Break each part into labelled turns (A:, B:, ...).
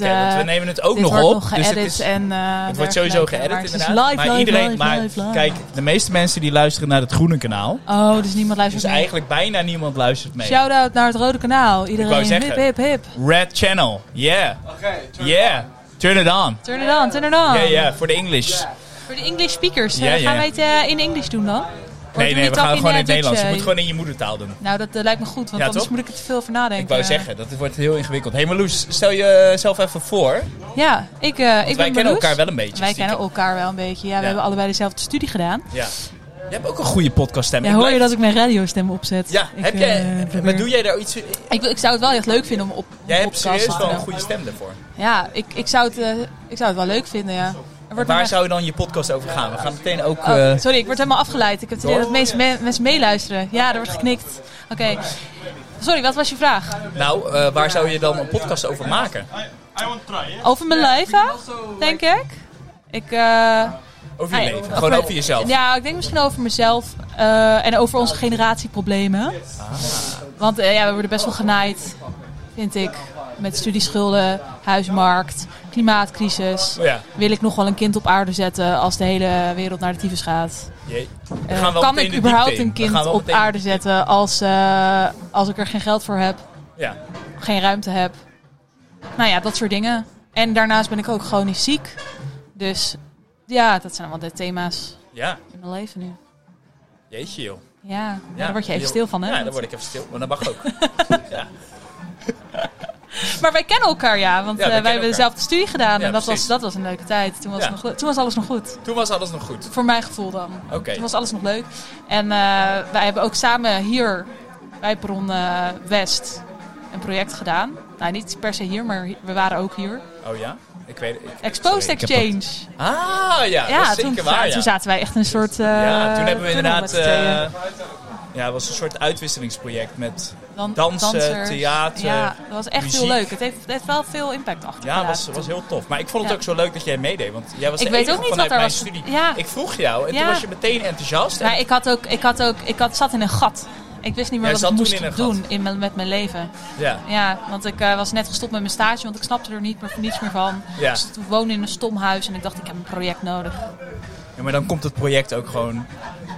A: Oké, want we nemen het ook
B: eh, dit
A: nog
B: wordt
A: op.
B: nog
A: dus
B: geëdit
A: het, is,
B: en eh,
A: het wordt sowieso geëdit inderdaad.
B: live,
A: maar
B: live,
A: iedereen,
B: live,
A: maar
B: live, live.
A: kijk, de meeste mensen die luisteren naar het groene kanaal.
B: Oh, dus niemand luistert
A: Dus
B: mee.
A: eigenlijk bijna niemand luistert mee.
B: Shout-out naar het Rode Kanaal. Iedereen,
A: zeggen.
B: hip, hip, hip.
A: Red Channel, yeah, yeah, turn it on.
B: Turn it on, turn it on.
A: Yeah, yeah, voor de English.
B: Voor de English speakers, eh,
A: Ja, ja.
B: gaan wij het eh, in Engels doen dan? Of doen
A: Nee, nee,
B: jullie
A: we
B: het ook
A: gaan gewoon in
B: eh,
A: het Nederlands.
B: Dutch,
A: Je
B: eh,
A: moet gewoon in je moedertaal doen.
B: Nou, dat eh, lijkt me goed, want
A: Ja,
B: anders
A: toch?
B: moet ik eh, er te veel voor nadenken.
A: Ik wou zeggen, dat wordt heel ingewikkeld. Hé hey Marloes, stel jezelf even voor.
B: Ja, ik, eh, ik ben
A: wij kennen
B: Marloes.
A: elkaar wel een beetje,
B: Wij
A: stiekem.
B: kennen elkaar wel een beetje. Ja, we
A: Ja.
B: hebben allebei dezelfde studie gedaan.
A: Ja. Je hebt ook een goede podcaststem.
B: Ja,
A: Ik
B: hoor
A: blijf-
B: je dat ik mijn radiostem opzet?
A: Ja,
B: ik,
A: heb
B: eh,
A: jij, maar
B: probeer-
A: doe jij daar iets...
B: ik, wil- ik zou het wel echt leuk vinden om op
A: Jij hebt
B: podcast
A: serieus
B: te
A: wel een
B: doen.
A: goede stem daarvoor.
B: Ja, ik, ik, zou het, eh, ik zou het wel leuk vinden, ja. Er wordt
A: Waar
B: nog echt-
A: zou je dan je podcast over gaan? We gaan meteen ook...
B: Oh,
A: eh,
B: sorry, ik word helemaal afgeleid. Ik heb het idee dat de meeste me- mensen meeluisteren. Ja, er wordt geknikt. Oké. Sorry, wat was je vraag?
A: nou, eh, waar zou je dan een podcast over maken?
B: Over mijn leven, denk ik. Ik, eh,
A: Over je
B: Ah, ja.
A: leven. Gewoon over jezelf.
B: ja, ik denk misschien over mezelf eh, en over onze generatieproblemen.
A: Ah.
B: Want eh, ja, we worden best wel genaaid, vind ik. Met studieschulden, huismarkt, klimaatcrisis.
A: Oh ja.
B: Wil ik nog wel een kind op aarde zetten als de hele wereld naar de tyfus gaat?
A: Jee. We
B: Eh,
A: gaan wel
B: kan
A: meteen
B: ik
A: de
B: überhaupt
A: diepte in.
B: een
A: We gaan
B: kind
A: wel
B: op
A: meteen-
B: aarde zetten als, eh, als ik er geen geld voor heb,
A: Ja.
B: geen ruimte heb? Nou ja, dat soort dingen. En daarnaast ben ik ook chronisch ziek. Dus ja, dat zijn allemaal de thema's
A: Ja.
B: in mijn leven nu.
A: Jeetje joh.
B: Ja, nou,
A: Ja.
B: daar word je even
A: Joh.
B: stil van, hè?
A: Ja, daar word ik even stil. Maar dat mag ook.
B: Maar wij kennen elkaar, ja, want
A: Ja,
B: eh,
A: wij kennen
B: wij hebben
A: elkaar.
B: dezelfde studie gedaan.
A: Ja,
B: en dat
A: precies.
B: was, dat was een leuke tijd. Toen was,
A: Ja.
B: het nog, toen was alles nog goed.
A: Toen was alles nog goed.
B: Voor mijn gevoel dan.
A: Oké.
B: Toen was alles nog leuk. En eh, wij hebben ook samen hier bij Bron eh, West een project gedaan. Nou, niet per se hier, maar hi- we waren ook hier.
A: Oh ja? Ik weet het.
B: Exposed
A: Sorry, ik heb
B: Exchange.
A: dat- Ah ja, dat is
B: toen,
A: zeker waar.
B: ja,
A: Ja.
B: toen zaten wij echt een soort. eh,
A: Ja, toen hebben we
B: tunnel
A: inderdaad.
B: met z'n tweeën.
A: eh, ja, het was een soort uitwisselingsproject met.
B: Dan-
A: dansen,
B: dansers.
A: theater,
B: Ja, dat was echt heel
A: muziek.
B: leuk. Het heeft, het heeft wel veel impact achter.
A: Ja, was, was heel tof. Maar ik vond het
B: Ja.
A: ook zo leuk dat jij meedeed. Want jij was
B: Ik
A: de
B: weet
A: enige
B: ook niet
A: vanuit
B: wat er
A: mijn
B: was.
A: studie.
B: Ja.
A: Ik vroeg jou en toen
B: Ja.
A: was je meteen enthousiast. En
B: Maar ik had ook, ik had ook, ik had, zat in een gat. Ik wist niet meer
A: Jij
B: wat ik
A: zat toen
B: moest
A: in een gat.
B: doen in mijn, met mijn leven.
A: ja.
B: Ja, want ik eh, was net gestopt met mijn stage, want ik snapte er niet meer, niets meer van.
A: Ja.
B: Dus ik woonde in een stom huis en ik dacht, ik heb een project nodig.
A: Ja, maar dan komt het project ook gewoon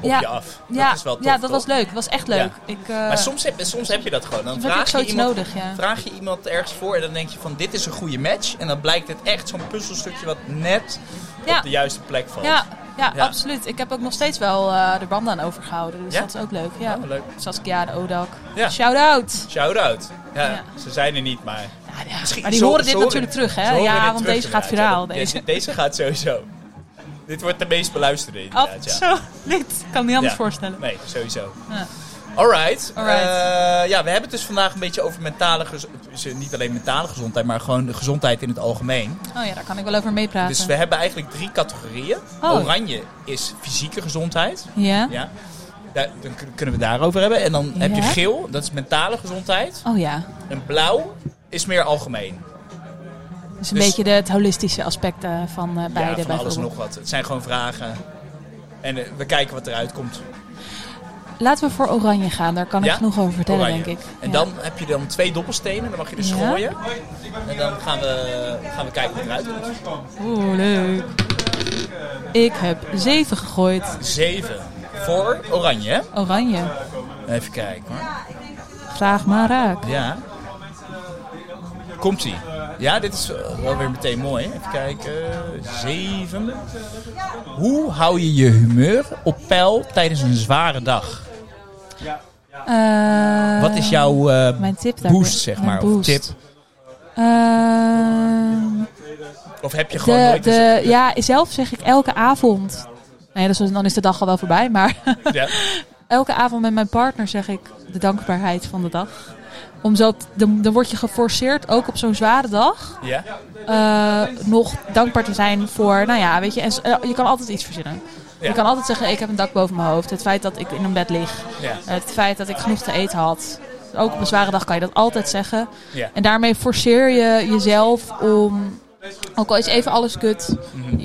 A: op
B: ja.
A: je af. Dat
B: ja,
A: is wel tof,
B: ja, dat
A: toch?
B: was leuk. Dat was echt leuk.
A: Ja.
B: Ik, eh,
A: Maar soms heb, soms heb je dat gewoon. Dan
B: heb
A: vraag
B: ik
A: je,
B: zoiets
A: iemand,
B: nodig, ja.
A: vraag je iemand ergens voor en dan denk je van dit is een goede match. En dan blijkt het echt zo'n puzzelstukje wat net
B: ja,
A: op de juiste plek valt.
B: ja, ja,
A: Ja.
B: absoluut. Ik heb ook nog steeds wel eh de banden aan overgehouden. Dus
A: Ja?
B: dat is ook leuk. Ja.
A: Oh, leuk.
B: Saskia de Odak.
A: Ja.
B: Shout-out.
A: Shout-out. Ja,
B: Ja.
A: Ze zijn er niet, maar...
B: Nou, ja.
A: Misschien-
B: Maar die
A: ze-
B: horen
A: ze
B: dit natuurlijk terug,
A: ze
B: hè?
A: horen dit
B: Ja, want
A: terug
B: deze gaat
A: inderdaad.
B: viraal.
A: Ja,
B: Deze.
A: Deze, deze gaat sowieso. Dit wordt de meest beluisterde
B: Af,
A: inderdaad, ja.
B: Oh, zo, dit kan me niet anders
A: Ja.
B: voorstellen.
A: Nee, sowieso.
B: Ja.
A: Alright.
B: Alright.
A: Eh, ja, we hebben het dus vandaag een beetje over mentale gezondheid. Niet alleen mentale gezondheid, maar gewoon de gezondheid in het algemeen.
B: Oh ja, daar kan ik wel over meepraten.
A: Dus we hebben eigenlijk drie categorieën.
B: Oh.
A: Oranje is fysieke gezondheid.
B: Ja?
A: Ja. Daar, dan kun- kunnen we het daarover hebben. En dan heb je
B: Ja.
A: geel, dat is mentale gezondheid.
B: Oh ja,
A: En blauw is meer algemeen.
B: dus een
A: Dus-
B: beetje de, het holistische aspect eh, van eh, beide
A: ja, van alles en
B: bijvoorbeeld.
A: nog wat. Het zijn gewoon vragen. En eh, we kijken wat eruit komt.
B: Laten we voor oranje gaan, daar kan ik
A: Ja?
B: genoeg over vertellen
A: Oranje.
B: denk ik.
A: En
B: Ja.
A: dan heb je dan twee dobbelstenen. Dan mag je dus
B: Ja.
A: gooien. En dan gaan we, gaan we kijken wat eruit komt.
B: Oeh, leuk. Ik heb zeven gegooid.
A: Zeven. Voor oranje, hè?
B: Oranje,
A: Even kijken hoor.
B: vraag maar raak.
A: Ja. Komt ie. Ja, dit is eh, wel weer meteen mooi. Even kijken. Zeven. Hoe hou je je humeur op peil tijdens een zware dag?
B: Eh,
A: Wat is jouw eh,
B: mijn tip daar?
A: boost, zeg maar? Of tip?
B: Ehm,
A: Of heb je gewoon
B: de,
A: nooit een-
B: de, ja, zelf zeg ik elke avond. Nee, dat is- dan is de dag al wel voorbij, maar...
A: Ja.
B: elke avond met mijn partner zeg ik de dankbaarheid van de dag. Om zo, t- dan, dan word je geforceerd, ook op zo'n zware dag,
A: ja?
B: eh, nog dankbaar te zijn voor, nou ja, weet je, en, s- eh, je kan altijd iets verzinnen.
A: Ja.
B: Je kan altijd zeggen, ik heb een dak boven mijn hoofd. Het feit dat ik in een bed lig.
A: Ja.
B: Het feit dat ik genoeg te eten had. Ook op een zware dag kan je dat altijd zeggen.
A: Ja.
B: En daarmee forceer je jezelf om, ook al is even alles kut.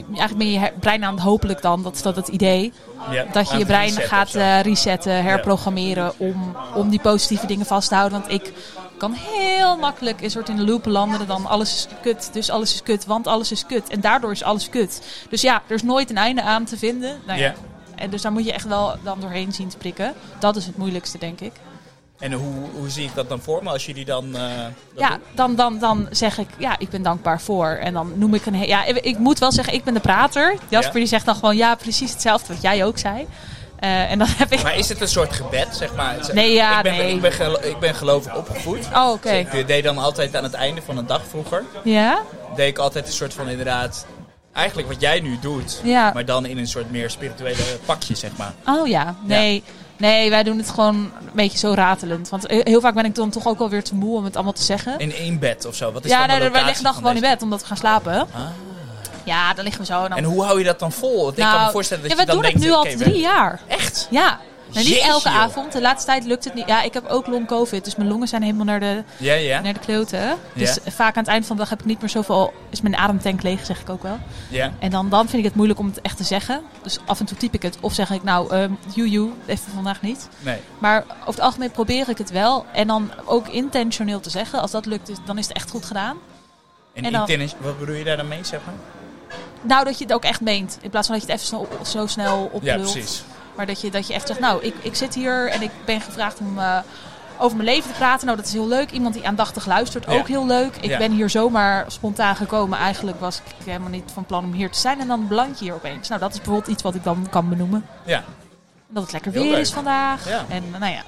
B: Eigenlijk ben je her- brein aan het hopelijk dan, dat is dat het idee.
A: Ja.
B: Dat je
A: Aan
B: je
A: het
B: brein
A: resetten of
B: gaat
A: zo.
B: eh, resetten, herprogrammeren om, om die positieve dingen vast te houden. Want ik kan heel makkelijk een soort in de loop landen dan alles is kut, dus alles is kut, want alles is kut. En daardoor is alles kut. Dus ja, er is nooit een einde aan te vinden. Nou ja.
A: Ja.
B: En dus daar moet je echt wel dan doorheen zien te prikken. Dat is het moeilijkste, denk ik.
A: En hoe, hoe zie ik dat dan voor me als jullie dan... eh, dat
B: Ja,
A: doen?
B: dan, dan, dan zeg ik, ja, ik ben dankbaar voor. En dan noem ik een... he- Ja, ik, ik moet wel zeggen, ik ben de prater. Jasper
A: Ja.
B: die zegt dan gewoon, ja, precies hetzelfde wat jij ook zei. Eh, en dan heb ik...
A: Maar is het een soort gebed, zeg maar? Zeg-
B: Nee, ja,
A: ik ben,
B: nee.
A: Ik ben, gelo- ik ben gelovig opgevoed.
B: Oh, oké.
A: Dus ik deed dan altijd aan het einde van een dag vroeger...
B: Ja?
A: deed ik altijd een soort van inderdaad... Eigenlijk wat jij nu doet,
B: Ja.
A: maar dan in een soort meer spirituele pakje, zeg maar.
B: Oh ja, nee. Nee, wij doen het gewoon een beetje zo ratelend. Want he- heel vaak ben ik dan toch ook alweer te moe om het allemaal te zeggen.
A: In één bed of zo. Wat is
B: Ja,
A: dan de
B: nou, wij
A: locatie
B: liggen dan
A: van
B: gewoon in
A: deze-
B: bed omdat we gaan slapen.
A: Ah.
B: Ja, dan liggen we zo. En dan...
A: En hoe hou je dat dan vol? Want ik kan me voorstellen dat
B: Nou, ja, we
A: je dan
B: doen het
A: denkt... oké,
B: nu al
A: we-
B: drie jaar.
A: Echt?
B: Ja. Nou, niet
A: Jeetje,
B: elke
A: joh.
B: avond. De laatste tijd lukt het niet. Ja, ik heb ook long covid, dus mijn longen zijn helemaal naar de,
A: Ja, ja.
B: naar de kloten. Dus vaak aan het eind van de dag heb ik niet meer zoveel... Is mijn ademtank leeg, zeg ik ook wel.
A: ja.
B: En dan, dan vind ik het moeilijk om het echt te zeggen. Dus af en toe typ ik het. Of zeg ik, nou, ehm you, you, even vandaag niet.
A: Nee.
B: Maar over het algemeen probeer ik het wel. En dan ook intentioneel te zeggen. Als dat lukt, is- dan is het echt goed gedaan.
A: En,
B: En dan-
A: intention- wat bedoel je daar dan mee, zeg maar?
B: Nou, dat je het ook echt meent. In plaats van dat je het even snel, op- zo snel
A: Ja,
B: oplult.
A: precies.
B: maar dat je, dat je echt zegt, nou, ik, ik zit hier en ik ben gevraagd om eh, over mijn leven te praten. Nou, dat is heel leuk. Iemand die aandachtig luistert,
A: Ja.
B: ook heel leuk. Ik
A: Ja.
B: ben hier zomaar spontaan gekomen. Eigenlijk was ik helemaal niet van plan om hier te zijn. En dan beland je hier opeens. Nou, dat is bijvoorbeeld iets wat ik dan kan benoemen.
A: Ja.
B: Dat het lekker
A: Heel
B: weer
A: leuk.
B: is vandaag.
A: Ja.
B: En eh, nou ja.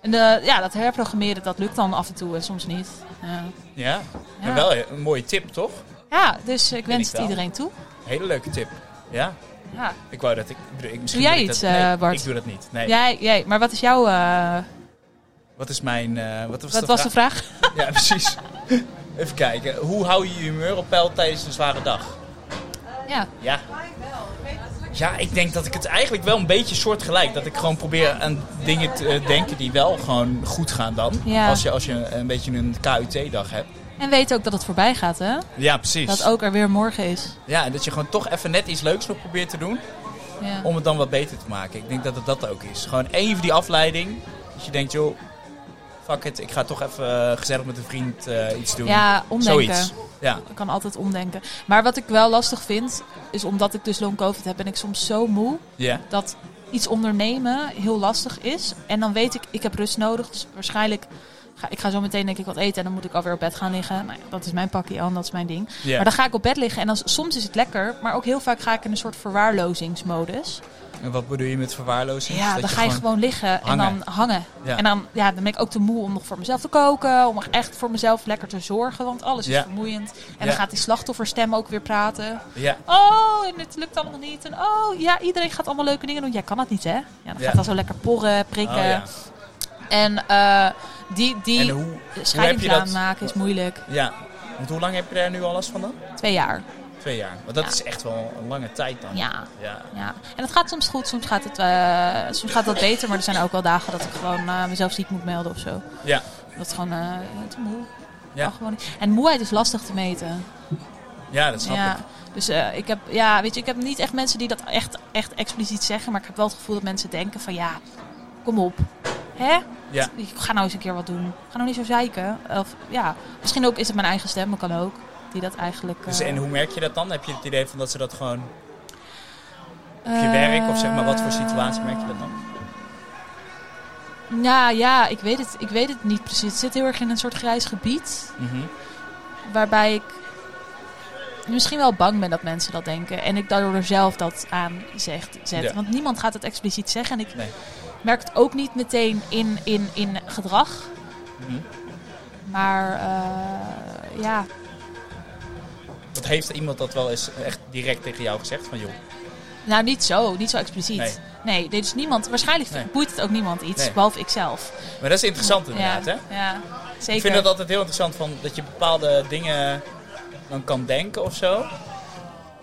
B: En eh, ja, dat herprogrammeren, dat lukt dan af en toe en soms niet. Ja.
A: Ja.
B: Ja.
A: En wel eh, een mooie tip, toch?
B: Ja, dus ik wens
A: ik
B: het
A: wel.
B: iedereen toe.
A: Hele leuke tip. Ja.
B: Ja.
A: Ik wou dat ik... ik bedoel, ik- misschien
B: jij
A: ik
B: iets,
A: dat, nee,
B: eh, Bart?
A: Ik doe dat niet. Nee.
B: Jij, jij, maar wat is jouw. eh,
A: Wat is mijn... eh, wat was,
B: wat was de vraag?
A: vraag? Ja, precies. Even kijken. Hoe hou je je humeur op peil tijdens een zware dag?
B: Ja.
A: Ja. Ja, ik denk dat ik het eigenlijk wel een beetje soortgelijk. Dat ik gewoon probeer aan dingen te eh, denken die wel gewoon goed gaan dan.
B: Ja.
A: Als je, als je een beetje een KUT-dag hebt.
B: En weet ook dat het voorbij gaat, hè?
A: Ja, precies.
B: Dat ook er weer morgen is.
A: Ja, en dat je gewoon toch even net iets leuks nog probeert te doen.
B: Ja.
A: Om het dan wat beter te maken. Ik denk dat het dat ook is. Gewoon even die afleiding. Dat je denkt, joh, fuck it. Ik ga toch even eh, gezellig met een vriend eh, iets doen.
B: Ja, omdenken.
A: Zoiets. Ja.
B: Ik kan altijd omdenken. Maar wat ik wel lastig vind, is omdat ik dus long covid heb, ben ik soms zo moe
A: Ja.
B: dat iets ondernemen heel lastig is. En dan weet ik, ik heb rust nodig. Dus waarschijnlijk, ga, ik ga zo meteen denk ik wat eten en dan moet ik alweer op bed gaan liggen. Nou ja, dat is mijn pakje aan, dat is mijn ding.
A: Ja.
B: Maar dan ga ik op bed liggen en dan, soms is het lekker, maar ook heel vaak ga ik in een soort verwaarlozingsmodus.
A: En wat bedoel je met verwaarlozing?
B: Ja,
A: Dat
B: dan ga je gewoon, liggen en
A: hangen.
B: dan hangen.
A: Ja.
B: En dan, ja, dan ben ik ook te moe om nog voor mezelf te koken. Om echt voor mezelf lekker te zorgen. Want alles is
A: Ja.
B: vermoeiend. En
A: Ja.
B: dan gaat die slachtofferstem ook weer praten.
A: Ja.
B: Oh, en het lukt allemaal niet. En oh, ja, iedereen gaat allemaal leuke dingen doen. Jij kan dat niet, hè? Ja, dan
A: Ja.
B: gaat dat zo lekker porren, prikken.
A: Oh, ja.
B: En eh, die,
A: En
B: die
A: hoe, hoe heb je
B: scheidingsplan
A: dat?
B: maken is moeilijk.
A: Ja. Want hoe lang heb je daar nu al last van dan?
B: Twee jaar.
A: Twee jaar. Want dat
B: Ja.
A: is echt wel een lange tijd dan.
B: Ja.
A: Ja.
B: Ja, en het gaat soms goed, soms gaat het, eh, soms gaat dat beter, maar er zijn ook wel dagen dat ik gewoon eh, mezelf ziek moet melden of zo.
A: Ja.
B: Dat is gewoon eh, te moe.
A: Ja.
B: Mag gewoon niet. En moeheid is lastig te meten.
A: Ja, dat snap
B: ja.
A: ik.
B: Dus eh, ik, heb, ja, weet je, ik heb niet echt mensen die dat echt, echt expliciet zeggen. Maar ik heb wel het gevoel dat mensen denken van ja, kom op. Hè?
A: Ja.
B: Ga nou eens een keer wat doen. Ga nou niet zo zeiken. Of, ja. Misschien ook is het mijn eigen stem, maar kan ook. Die dat eigenlijk...
A: Dus,
B: eh,
A: en hoe merk je dat dan? Heb je het idee van dat ze dat gewoon
B: eh,
A: op je werk of zeg maar wat voor situatie merk je dat dan?
B: Nou ja, ik weet, het, ik weet het niet precies. Het zit heel erg in een soort grijs gebied.
A: Mhm.
B: waarbij ik misschien wel bang ben dat mensen dat denken. En ik daardoor zelf dat aan zegt, zet.
A: Ja.
B: Want niemand gaat het expliciet zeggen. En ik
A: Nee.
B: merk het ook niet meteen in, in, in gedrag.
A: Mhm.
B: Maar eh, ja,
A: Wat heeft iemand dat wel eens echt direct tegen jou gezegd van joh?
B: nou niet zo, niet zo expliciet.
A: Nee.
B: Nee, dit is niemand. Waarschijnlijk
A: Nee.
B: boeit het ook niemand iets,
A: Nee.
B: behalve ikzelf.
A: Maar dat is interessant inderdaad, hè?
B: ja, ja, zeker.
A: Ik vind dat altijd heel interessant van dat je bepaalde dingen dan kan denken of zo.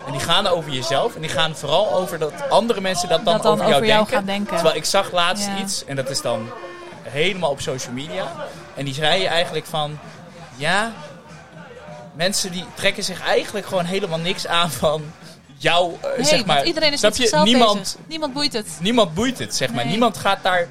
A: En die gaan over jezelf. En die gaan vooral over dat andere mensen dat dan,
B: Dat dan
A: over jou,
B: over jou
A: denken.
B: gaan denken.
A: Terwijl ik zag laatst
B: Ja.
A: iets, en dat is dan helemaal op social media. En die zei eigenlijk van, ja, mensen die trekken zich eigenlijk gewoon helemaal niks aan van jou, eh,
B: Nee,
A: zeg
B: want
A: maar.
B: iedereen is
A: Snap
B: met
A: je?
B: zichzelf
A: niemand,
B: bezig. Niemand boeit het.
A: niemand boeit het, zeg maar.
B: Nee.
A: Niemand gaat daar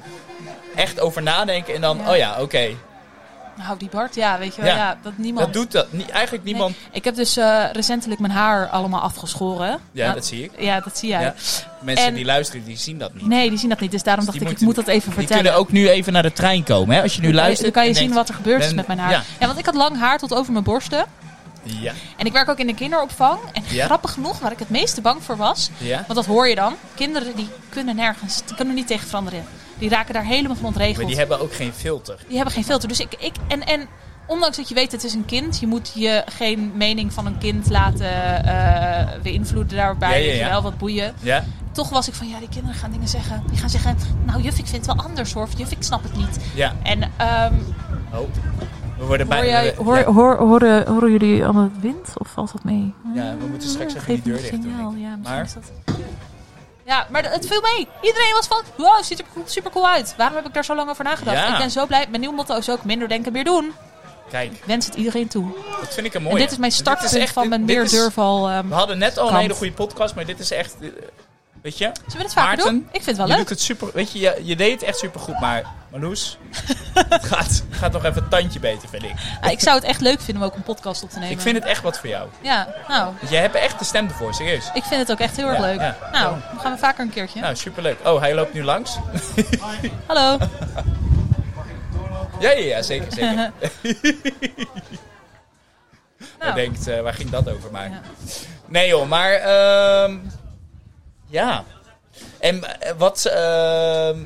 A: echt over nadenken en dan,
B: Ja.
A: oh ja, oké.
B: Hou Nou, die Bart, ja, weet je wel.
A: Ja.
B: Ja. dat niemand...
A: Dat doet dat. Nie- eigenlijk
B: Nee.
A: niemand.
B: Ik heb dus eh, recentelijk mijn haar allemaal afgeschoren.
A: Ja,
B: Nou,
A: dat zie ik.
B: Ja, dat zie jij.
A: Ja. Mensen
B: En-
A: die luisteren, die zien dat niet.
B: Nee, die zien dat niet. Dus daarom
A: Dus
B: dacht
A: die
B: ik, ik moet
A: moeten-
B: dat even
A: Die
B: vertellen.
A: kunnen ook nu even naar de trein komen. Hè? Als je nu
B: Dan kan je-
A: luistert.
B: Dan kan je
A: en
B: zien
A: denkt,
B: wat er gebeurd is
A: ben-
B: met mijn haar.
A: Ja.
B: Ja. want ik had lang haar tot over mijn borsten.
A: Ja.
B: En ik werk ook in de kinderopvang. En
A: Ja.
B: grappig genoeg, waar ik het meeste bang voor was,
A: Ja.
B: want dat hoor je dan. Kinderen die kunnen nergens, die kunnen niet tegen veranderen. Die raken daar helemaal van ontregeld.
A: Maar die hebben ook geen filter.
B: Die hebben geen filter. Dus ik, ik en, en ondanks dat je weet, het is een kind, je moet je geen mening van een kind laten eh beïnvloeden daarbij.
A: Ja, ja,
B: Weet je
A: ja.
B: wel, wat boeien.
A: Ja.
B: Toch was ik van, ja, die kinderen gaan dingen zeggen. Die gaan zeggen, nou juf, ik vind het wel anders hoor. Of juf, ik snap het niet.
A: Ja.
B: En ehm,
A: Oh. We worden
B: hoor
A: bijna.
B: jij,
A: we-
B: hoor,
A: eh, ja.
B: hoor, horen, horen jullie allemaal het wind? Of valt dat mee?
A: Ja, we moeten straks
B: Ja,
A: even die
B: geef
A: deur
B: een
A: dicht doen.
B: signaal.
A: denk ik.
B: Ja, misschien
A: maar
B: is dat... Ja, maar het viel mee. Iedereen was van, wow, ziet er super cool uit. Waarom heb ik daar zo lang over nagedacht?
A: Ja.
B: Ik ben zo blij. Mijn nieuwe motto is ook minder denken, meer doen.
A: kijk,
B: Ik wens het iedereen toe.
A: dat vind ik een
B: en
A: mooie.
B: dit is mijn
A: Dit
B: startpunt
A: echt-
B: van
A: dit-
B: mijn
A: dit
B: meer
A: is-
B: durval. ehm.
A: We hadden net al een
B: kant.
A: hele goede podcast, maar dit is echt. eh, Weet je?
B: Zullen we dit vaker
A: Maarten,
B: doen? Ik vind het wel
A: Je
B: leuk.
A: doet het super. Weet je, je, je deed het echt super goed, maar Marloes, het gaat, gaat nog even een tandje beter, vind ik.
B: Ah, ik zou het echt leuk vinden om ook een podcast op te nemen.
A: Ik vind het echt wat voor jou.
B: Ja, nou,
A: Want Jij hebt er echt de stem ervoor, serieus.
B: ik vind het ook echt heel erg
A: Ja,
B: leuk.
A: ja.
B: Nou, dan gaan we vaker een keertje.
A: Nou, superleuk. Oh, hij loopt nu langs.
B: Hallo.
A: Ja, ja, ja zeker, zeker.
B: Nou.
A: Hij denkt, eh, waar ging dat over? Maar...
B: Oh. Ja.
A: Nee joh, maar... ehm, ja. En eh, wat... ehm,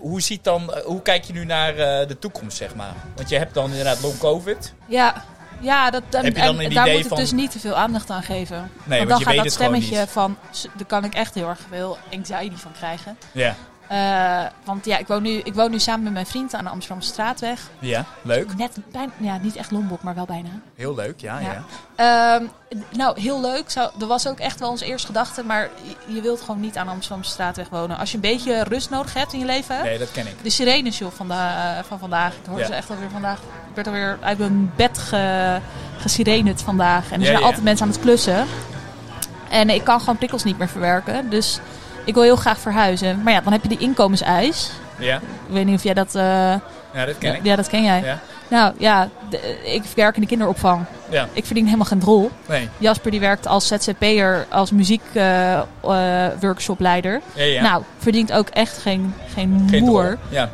A: hoe, ziet dan, hoe kijk je nu naar eh, de toekomst, zeg maar? Want je hebt dan inderdaad long covid.
B: Ja, ja dat, en,
A: Heb je dan
B: en
A: een
B: daar
A: idee
B: moet
A: van-
B: ik dus niet te veel aandacht aan geven.
A: want je weet
B: dan gaat dat
A: het gewoon
B: stemmetje
A: niet.
B: van, s- daar kan ik echt heel erg veel anxiety van krijgen.
A: Ja.
B: Eh, want ja, ik woon, nu, ik woon nu samen met mijn vriend aan de Amsterdamse straatweg.
A: Ja, leuk.
B: Net bijna, ja, niet echt Lombok, maar wel bijna.
A: Heel leuk, ja. Ah, ja.
B: Ja. Ehm, nou, heel leuk. Zou, dat was ook echt wel onze eerste gedachte. Maar je, je wilt gewoon niet aan de Amsterdamse straatweg wonen. Als je een beetje rust nodig hebt in je leven.
A: Nee, dat ken ik.
B: De sirenes joh, van, de- eh, van vandaag. Ik hoorde
A: Ja.
B: ze echt alweer vandaag. Ik werd alweer uit mijn bed ge, gesirened vandaag. En er
A: Ja,
B: zijn
A: ja.
B: altijd mensen aan het klussen. En ik kan gewoon prikkels niet meer verwerken. Dus ik wil heel graag verhuizen. Maar ja, dan heb je die inkomenseis.
A: Ja,
B: Ik weet niet of jij dat... eh,
A: ja dat ken ik.
B: ja, dat ken jij.
A: Ja.
B: Nou ja, de- ik werk in de kinderopvang.
A: Ja.
B: Ik verdien helemaal geen drol.
A: Nee.
B: Jasper die werkt als ZZP'er, als muziekworkshopleider.
A: Ja, ja.
B: Nou, verdient ook echt geen, geen,
A: Geen
B: moer.
A: drol. Ja.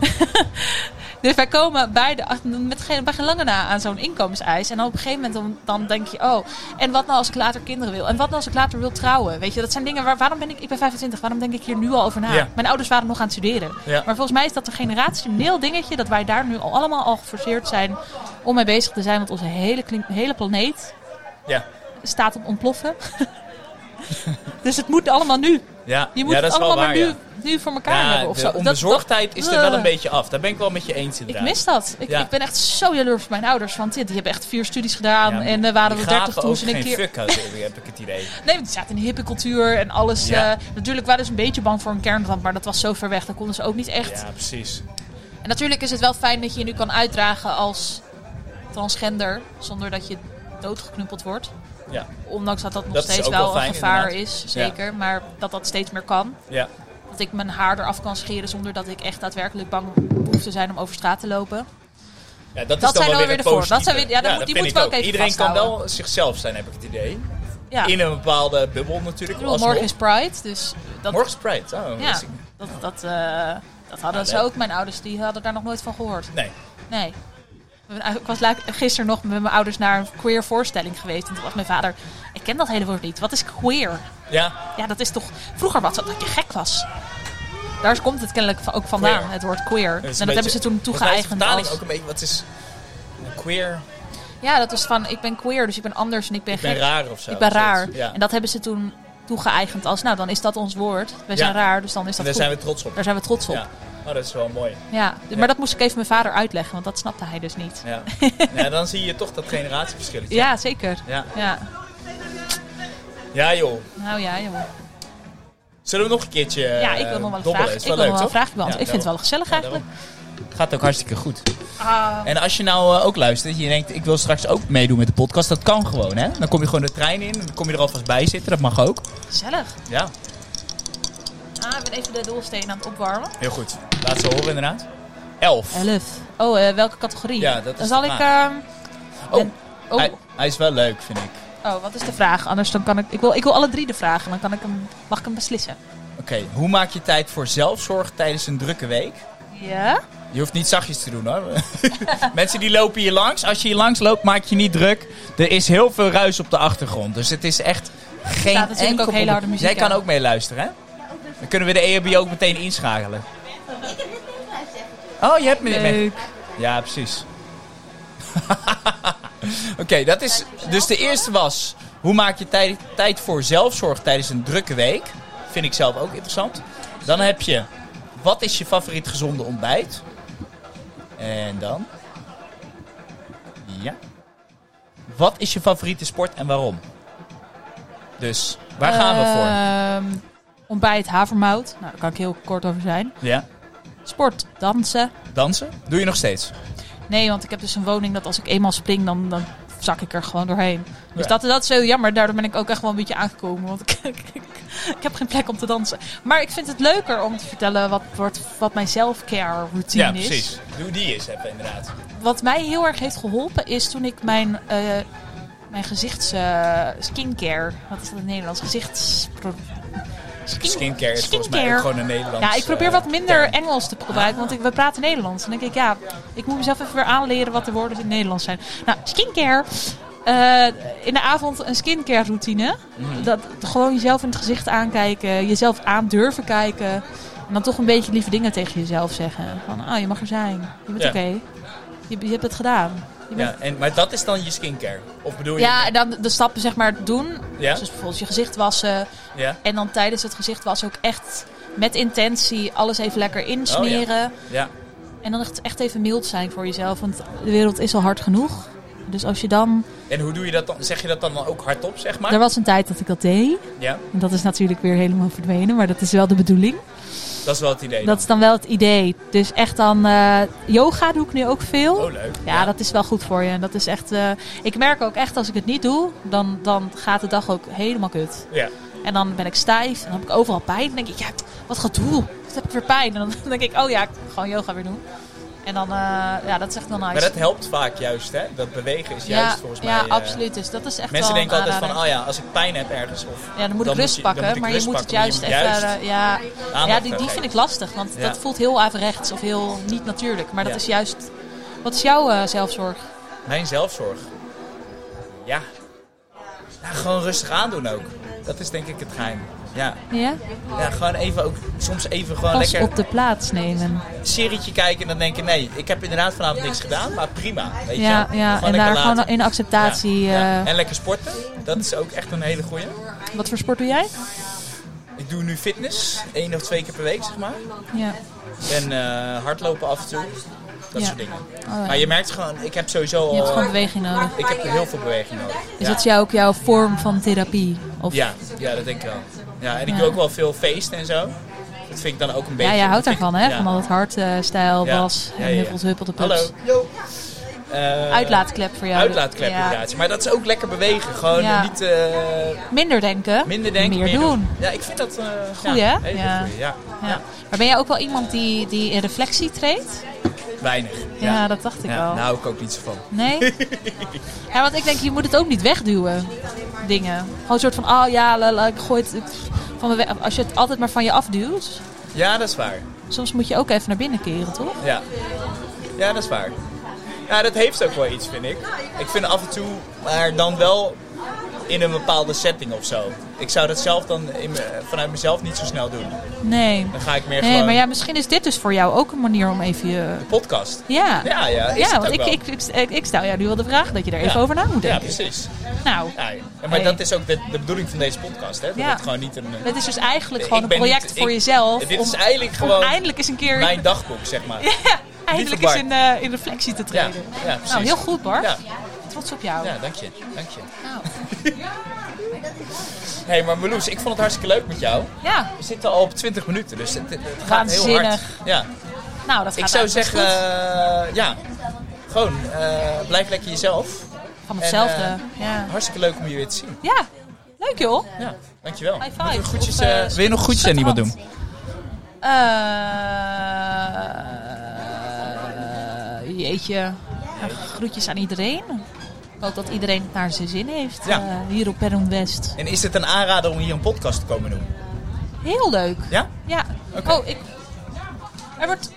B: Dus wij komen bij, de, ach- met geen, bij geen lange na aan zo'n inkomenseis. En dan op een gegeven moment dan, dan denk je, oh, en wat nou als ik later kinderen wil? En wat nou als ik later wil trouwen? Weet je, dat zijn dingen waar, waarom ben ik, ik ben 25, waarom denk ik hier nu al over na?
A: Ja.
B: Mijn ouders waren nog aan het studeren.
A: Ja.
B: Maar volgens mij is dat een generationeel dingetje dat wij daar nu al allemaal al geforceerd zijn om mee bezig te zijn. Want onze hele, klin- hele planeet
A: Ja.
B: staat op ontploffen. dus het moet allemaal nu.
A: Ja.
B: Je moet
A: ja, dat
B: het
A: is
B: allemaal
A: wel
B: maar
A: waar,
B: nu,
A: ja.
B: nu voor elkaar
A: Ja,
B: hebben. Of zo.
A: de
B: Dat-
A: onbezorgdheid
B: dat-
A: is er wel een
B: Ugh.
A: beetje af. Daar ben ik wel met je eens
B: Ik
A: inderdaad.
B: mis dat. Ik,
A: Ja.
B: ik ben echt zo jaloers op mijn ouders. Want die, die hebben echt vier studies gedaan.
A: Ja,
B: en eh waren
A: die
B: we dertig
A: gaven
B: toen
A: ook
B: ze een
A: geen
B: keer...
A: fuck hadden, heb ik het idee.
B: Nee, want die zaten in de hippie cultuur en alles.
A: Ja.
B: eh, natuurlijk waren ze een beetje bang voor een kernramp. Maar dat was zo ver weg. Dat konden ze ook niet echt.
A: Ja, precies.
B: En natuurlijk is het wel fijn dat je je nu kan uitdragen als transgender. Zonder dat je doodgeknuppeld wordt.
A: Ja.
B: Ondanks dat dat nog
A: Dat is
B: steeds
A: ook
B: wel,
A: wel fijn,
B: een gevaar
A: inderdaad.
B: is. Zeker. Maar dat dat steeds meer kan.
A: Ja.
B: Dat ik mijn haar eraf kan scheren zonder dat ik echt daadwerkelijk bang hoef te zijn om over straat te lopen.
A: Ja, dat, is
B: zijn
A: dan wel
B: dan
A: weer
B: weer
A: de
B: de voor. Dat
A: positieve.
B: zijn weer- ja, dat moet- die
A: vind
B: moeten we
A: ik
B: ook even
A: Iedereen kan
B: vasthouden.
A: wel zichzelf zijn, heb ik het idee.
B: Ja.
A: In een bepaalde bubbel natuurlijk.
B: Ik bedoel,
A: alsnog.
B: morgen is Pride, dus dat,
A: Morgen is Pride. Oh,
B: ja,
A: dat is-
B: dat, dat, eh, dat hadden
A: Ja,
B: ze
A: leuk.
B: ook. Mijn ouders die hadden daar nog nooit van gehoord.
A: Nee.
B: Nee. nou, Ik was laat- gisteren nog met mijn ouders naar een queer voorstelling geweest. En toen was mijn vader, ik ken dat hele woord niet. Wat is queer?
A: Ja.
B: Ja, dat is toch... Vroeger was dat dat je gek was. Daar komt het kennelijk va- ook vandaan,
A: Queer.
B: het woord queer. en
A: is
B: dat
A: een
B: hebben ze
A: beetje-
B: toen
A: volgens mij is de
B: toegeëigend
A: vertaling
B: als...
A: ook een beetje, wat is een queer,
B: Ja, dat was van, ik ben queer, dus ik ben anders en ik ben
A: ik ben
B: gek.
A: raar of zo.
B: ik ben raar.
A: Zoiets. Ja.
B: En
A: En
B: dat hebben ze toen toegeëigend als, nou, dan is dat ons woord. Wij zijn
A: Ja.
B: raar, dus dan is dat
A: daar
B: goed.
A: zijn we trots op.
B: Daar zijn we trots op.
A: Ja. Oh, dat is wel mooi.
B: Ja, d-
A: Ja.
B: maar dat moest ik even mijn vader uitleggen, want dat snapte hij dus niet.
A: Ja. ja, dan zie je toch dat generatieverschilletje.
B: Ja, zeker.
A: Ja.
B: Ja,
A: ja joh.
B: nou ja, joh.
A: Zullen we nog een keertje eh,
B: Ja, ik wil nog wel een
A: dobbelen?
B: vraag.
A: Is
B: Ik
A: wel
B: wil nog
A: leuk,
B: wel een
A: toch?
B: vraagje beantwoorden.
A: Ja,
B: ik vind het wel gezellig
A: Ja,
B: eigenlijk.
A: daarom. Gaat ook hartstikke goed.
B: Ah,
A: En als je nou eh, ook luistert en je denkt, ik wil straks ook meedoen met de podcast, dat kan gewoon hè. Dan kom je gewoon de trein in, dan kom je er alvast bij zitten, dat mag ook.
B: gezellig.
A: Ja,
B: Ah, ik ben even de doelsteen aan het opwarmen.
A: heel goed. Laat ze horen inderdaad. Elf.
B: Elf. Oh, eh, welke categorie?
A: Ja, dat is
B: dan
A: de
B: zal ik...
A: vraag.
B: ehm,
A: Oh,
B: ben- oh,
A: Hij, hij is wel leuk, vind ik.
B: oh, wat is de vraag? Anders dan kan ik... Ik wil, ik wil alle drie de vragen. Dan kan ik hem, mag ik hem beslissen.
A: Oké, hoe maak je tijd voor zelfzorg tijdens een drukke week?
B: Ja?
A: Je hoeft niet zachtjes te doen hoor. Mensen die lopen hier langs. Als je hier langs loopt, maak je niet druk. Er is heel veel ruis op de achtergrond. Dus het is echt geen
B: staat natuurlijk ook
A: enkel
B: hele harde
A: probleem.
B: muziek
A: Jij kan
B: aan.
A: ook mee luisteren, hè? Dan kunnen we de EHB ook meteen inschakelen. Oh, je hebt me
B: Leuk.
A: Ja, precies. Oké, dat is. Dus de eerste was: hoe maak je tijd, tijd voor zelfzorg tijdens een drukke week? Vind ik zelf ook interessant. Dan heb je: wat is je favoriet gezonde ontbijt? En dan? Ja. Wat is je favoriete sport en waarom? Dus waar gaan we voor?
B: Ehm, ontbijt, havermout. Nou, daar kan ik heel kort over zijn.
A: Ja.
B: Sport, dansen.
A: Dansen? Doe je nog steeds?
B: Nee, want ik heb dus een woning dat als ik eenmaal spring, dan, dan zak ik er gewoon doorheen. Dus
A: Ja.
B: dat, dat is heel jammer. Daardoor ben ik ook echt wel een beetje aangekomen. Want ik, ik, ik- ik heb geen plek om te dansen. Maar ik vind het leuker om te vertellen wat, wordt, wat mijn self-care routine
A: ja,
B: is.
A: precies. Doe die eens even, inderdaad.
B: Wat mij heel erg heeft geholpen is toen ik mijn, eh, mijn gezichts eh, skincare... Wat is dat in het Nederlands? Gezichts...
A: Skincare is volgens mij ook
B: Skincare.
A: gewoon een Nederlands.
B: Ja, ik probeer
A: eh,
B: wat minder
A: term.
B: Engels te gebruiken, want ik, we praten Nederlands. En dan denk ik, ja, ik moet mezelf even weer aanleren wat de woorden in het Nederlands zijn. Nou, skincare. Eh, in de avond een skincare routine.
A: Mhm.
B: Dat, gewoon jezelf in het gezicht aankijken, jezelf aan durven kijken. En dan toch een beetje lieve dingen tegen jezelf zeggen. Van, ah, je mag er zijn. Je bent
A: Ja.
B: oké. Je, je hebt het gedaan. Je bent
A: Ja, en, maar dat is dan je skincare? Of bedoel je...
B: ja, en dan de stappen zeg maar doen.
A: Ja?
B: Dus bijvoorbeeld je gezicht wassen.
A: Ja?
B: En dan tijdens het gezicht wassen ook echt met intentie alles even lekker insmeren.
A: Ja.
B: En dan echt, echt even mild zijn voor jezelf. Want de wereld is al hard genoeg. Dus als je dan...
A: En hoe doe je dat dan? Zeg je dat dan ook hardop, zeg maar?
B: Er was een tijd dat ik dat deed.
A: Ja,
B: En dat is natuurlijk weer helemaal verdwenen. Maar dat is wel de bedoeling.
A: dat is wel het idee.
B: Dat is dan wel het idee. Dus echt dan... eh, yoga doe ik nu ook veel.
A: Oh, leuk.
B: Ja, dat is wel goed voor je. En dat is echt... eh, ik merk ook echt als ik het niet doe, dan, dan gaat de dag ook helemaal kut.
A: Ja.
B: En dan ben ik stijf en dan heb ik overal pijn. Dan denk ik, ja, wat gedoe. Wat heb ik weer pijn? En dan denk ik, oh ja, ik ga gewoon yoga weer doen. En dan, eh, ja, dat is echt wel nice.
A: Maar dat helpt vaak juist, hè? Dat bewegen is
B: ja,
A: juist volgens mij...
B: ja,
A: eh,
B: absoluut. Dus dat is echt
A: Mensen
B: wel
A: denken
B: een
A: altijd van,
B: aanrader.
A: oh ja, als ik pijn heb ergens of...
B: ja, dan moet
A: dan
B: ik
A: moet
B: rust
A: je- dan
B: pakken,
A: moet ik
B: maar
A: rust
B: je moet het
A: pakken, maar je
B: juist
A: moet
B: even...
A: juist
B: eh, ja,
A: aandacht
B: ja die,
A: aan
B: die
A: geven.
B: vind ik lastig, want
A: Ja.
B: dat voelt heel averechts of heel niet natuurlijk. Maar dat
A: Ja.
B: is juist... Wat is jouw eh, zelfzorg?
A: Mijn zelfzorg. Ja. ja. Gewoon rustig aandoen ook. Dat is denk ik het geheim. Ja,
B: Ja?
A: ja gewoon even ook, soms even gewoon
B: Pas
A: lekker...
B: op de plaats nemen.
A: een serietje kijken en dan denken, nee, ik heb inderdaad vanavond niks gedaan, maar prima. Weet je
B: Ja,
A: wel.
B: ja.
A: Gewoon
B: en
A: lekker
B: daar gewoon
A: laten.
B: in acceptatie...
A: Ja.
B: eh,
A: En lekker sporten, dat is ook echt een hele goeie.
B: Wat voor sport doe jij?
A: Ik doe nu fitness, één of twee keer per week, zeg maar.
B: Ja.
A: En eh, hardlopen af en toe, dat
B: Ja. Oh,
A: soort dingen.
B: ja.
A: Maar je merkt gewoon, ik heb sowieso
B: Je hebt
A: al-
B: gewoon beweging nodig.
A: ik heb heel veel beweging nodig.
B: Is
A: ja.
B: dat jou ook jouw vorm van therapie? Of,
A: Ja, ja, dat denk ik wel. Ja, en ik
B: Ja.
A: doe ook wel veel feesten en zo. Dat vind ik dan ook een beetje...
B: ja, jij houdt
A: dat vind
B: daarvan,
A: ik-
B: hè?
A: ja.
B: Van al het hardstijl,
A: Ja.
B: was,
A: Ja,
B: en
A: ja, ja.
B: huppelt, huppelt de pups.
A: Hallo. Eh,
B: Uitlaatklep voor jou.
A: Uitlaatklep
B: Ja.
A: inderdaad. Maar dat is ook lekker bewegen. Gewoon
B: Ja.
A: niet eh,
B: Minder denken,
A: minder denken.
B: meer, doen.
A: Ja, ik vind dat... eh
B: Goeie,
A: ja,
B: hè?
A: hele
B: Ja.
A: goeie, ja.
B: Ja. Maar ben jij ook wel iemand die, die in reflectie treedt?
A: Weinig.
B: Ja, dat dacht ik
A: Ja,
B: al.
A: Daar hou ik ook niet zo van.
B: Nee? ja, want ik denk, je moet het ook niet wegduwen, dingen. Gewoon een soort van, oh ja, la, la, ik gooi het pff, van me weg. Als je het altijd maar van je afduwt,
A: Ja, dat is waar.
B: soms moet je ook even naar binnen keren, toch?
A: Ja, ja dat is waar. Ja, dat heeft ook wel iets, vind ik. Ik vind af en toe, maar dan wel in een bepaalde setting of zo. Ik zou dat zelf dan in me- vanuit mezelf niet zo snel doen.
B: Nee.
A: Dan ga ik meer
B: Nee,
A: gewoon
B: maar ja, misschien is dit dus voor jou ook een manier om even je...
A: podcast.
B: Ja.
A: Ja, ja, is
B: ja,
A: het
B: want
A: ook
B: ik,
A: wel.
B: ik, ik, ik, ik stel jou nu wel de vraag dat je er
A: Ja.
B: even over na moet
A: Ja,
B: denken.
A: precies.
B: nou,
A: Ja, ja. maar
B: Hey.
A: dat is ook de, de bedoeling van deze podcast, hè? Dat
B: Ja.
A: het gewoon niet een...
B: dit is dus eigenlijk
A: Ik
B: gewoon een
A: ben
B: project
A: niet-
B: voor
A: ik-
B: jezelf.
A: Dit is
B: om-
A: eigenlijk
B: om
A: gewoon
B: eindelijk eens een keer
A: mijn dagboek, zeg maar. Ja,
B: eindelijk
A: Bart.
B: eens in, eh, in reflectie te
A: ja,
B: treden.
A: precies.
B: nou, heel goed hoor.
A: Ja,
B: Trots op jou.
A: ja, dank je. Dank je.
B: Nou,
A: Hé, hey, maar Meloes, ik vond het hartstikke leuk met jou.
B: ja.
A: We zitten al op 20 minuten, dus het, het gaat heel hard.
B: Waanzinnig.
A: Ja.
B: nou dat gaat
A: Ik zou
B: eigenlijk
A: zeggen,
B: goed.
A: eh, ja, gewoon eh, blijf lekker jezelf.
B: van
A: en,
B: hetzelfde.
A: eh,
B: ja.
A: Hartstikke leuk om je weer te zien.
B: ja, leuk joh.
A: Ja, dankjewel.
B: High
A: Wil je
B: five.
A: goedjes,
B: Of, eh,
A: eh, wil je nog goedjes aan iemand
B: schudhand.
A: doen?
B: Eh, jeetje, nou, groetjes aan iedereen. Ik hoop dat iedereen het naar zijn zin heeft
A: Ja.
B: eh, hier op Perron West.
A: En is het een aanrader om hier een podcast te komen doen?
B: Heel leuk.
A: Ja?
B: Ja.
A: Oké.
B: Oh, ik... Er wordt...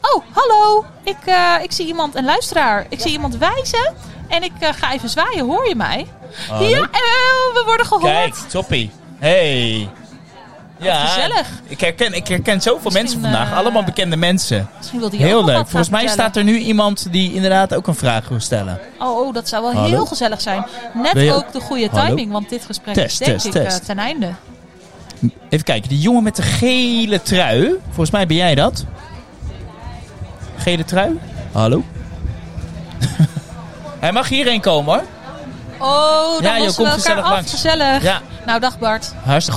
B: Oh, hallo. Ik, eh, ik zie iemand, een luisteraar. Ik zie iemand wijzen. En ik eh, ga even zwaaien. Hoor je mij?
A: Hallo.
B: Ja, eh, we worden gehoord.
A: Kijk, toppie. Hey. Ja,
B: gezellig.
A: Ik herken, ik herken zoveel mensen
B: Misschien,
A: vandaag.
B: eh,
A: Allemaal bekende mensen.
B: Misschien wil die ook
A: Heel
B: nog
A: leuk.
B: wat
A: Volgens mij staat er nu iemand die inderdaad ook een vraag wil stellen.
B: Oh, oh, dat zou wel
A: Hallo.
B: heel gezellig zijn. Net
A: Wil je-
B: ook de goede
A: Hallo.
B: timing, want dit gesprek
A: Test,
B: is denk
A: test,
B: ik eh,
A: test.
B: ten einde.
A: Even kijken, die jongen met de gele trui. Volgens mij ben jij dat. Gele trui? Hallo? Hij mag hierheen komen hoor.
B: Oh, dan
A: Ja, joh, kom
B: lossen we elkaar
A: gezellig
B: af.
A: langs.
B: Gezellig.
A: Ja.
B: Nou, dag Bart.
A: Hartstikke goed.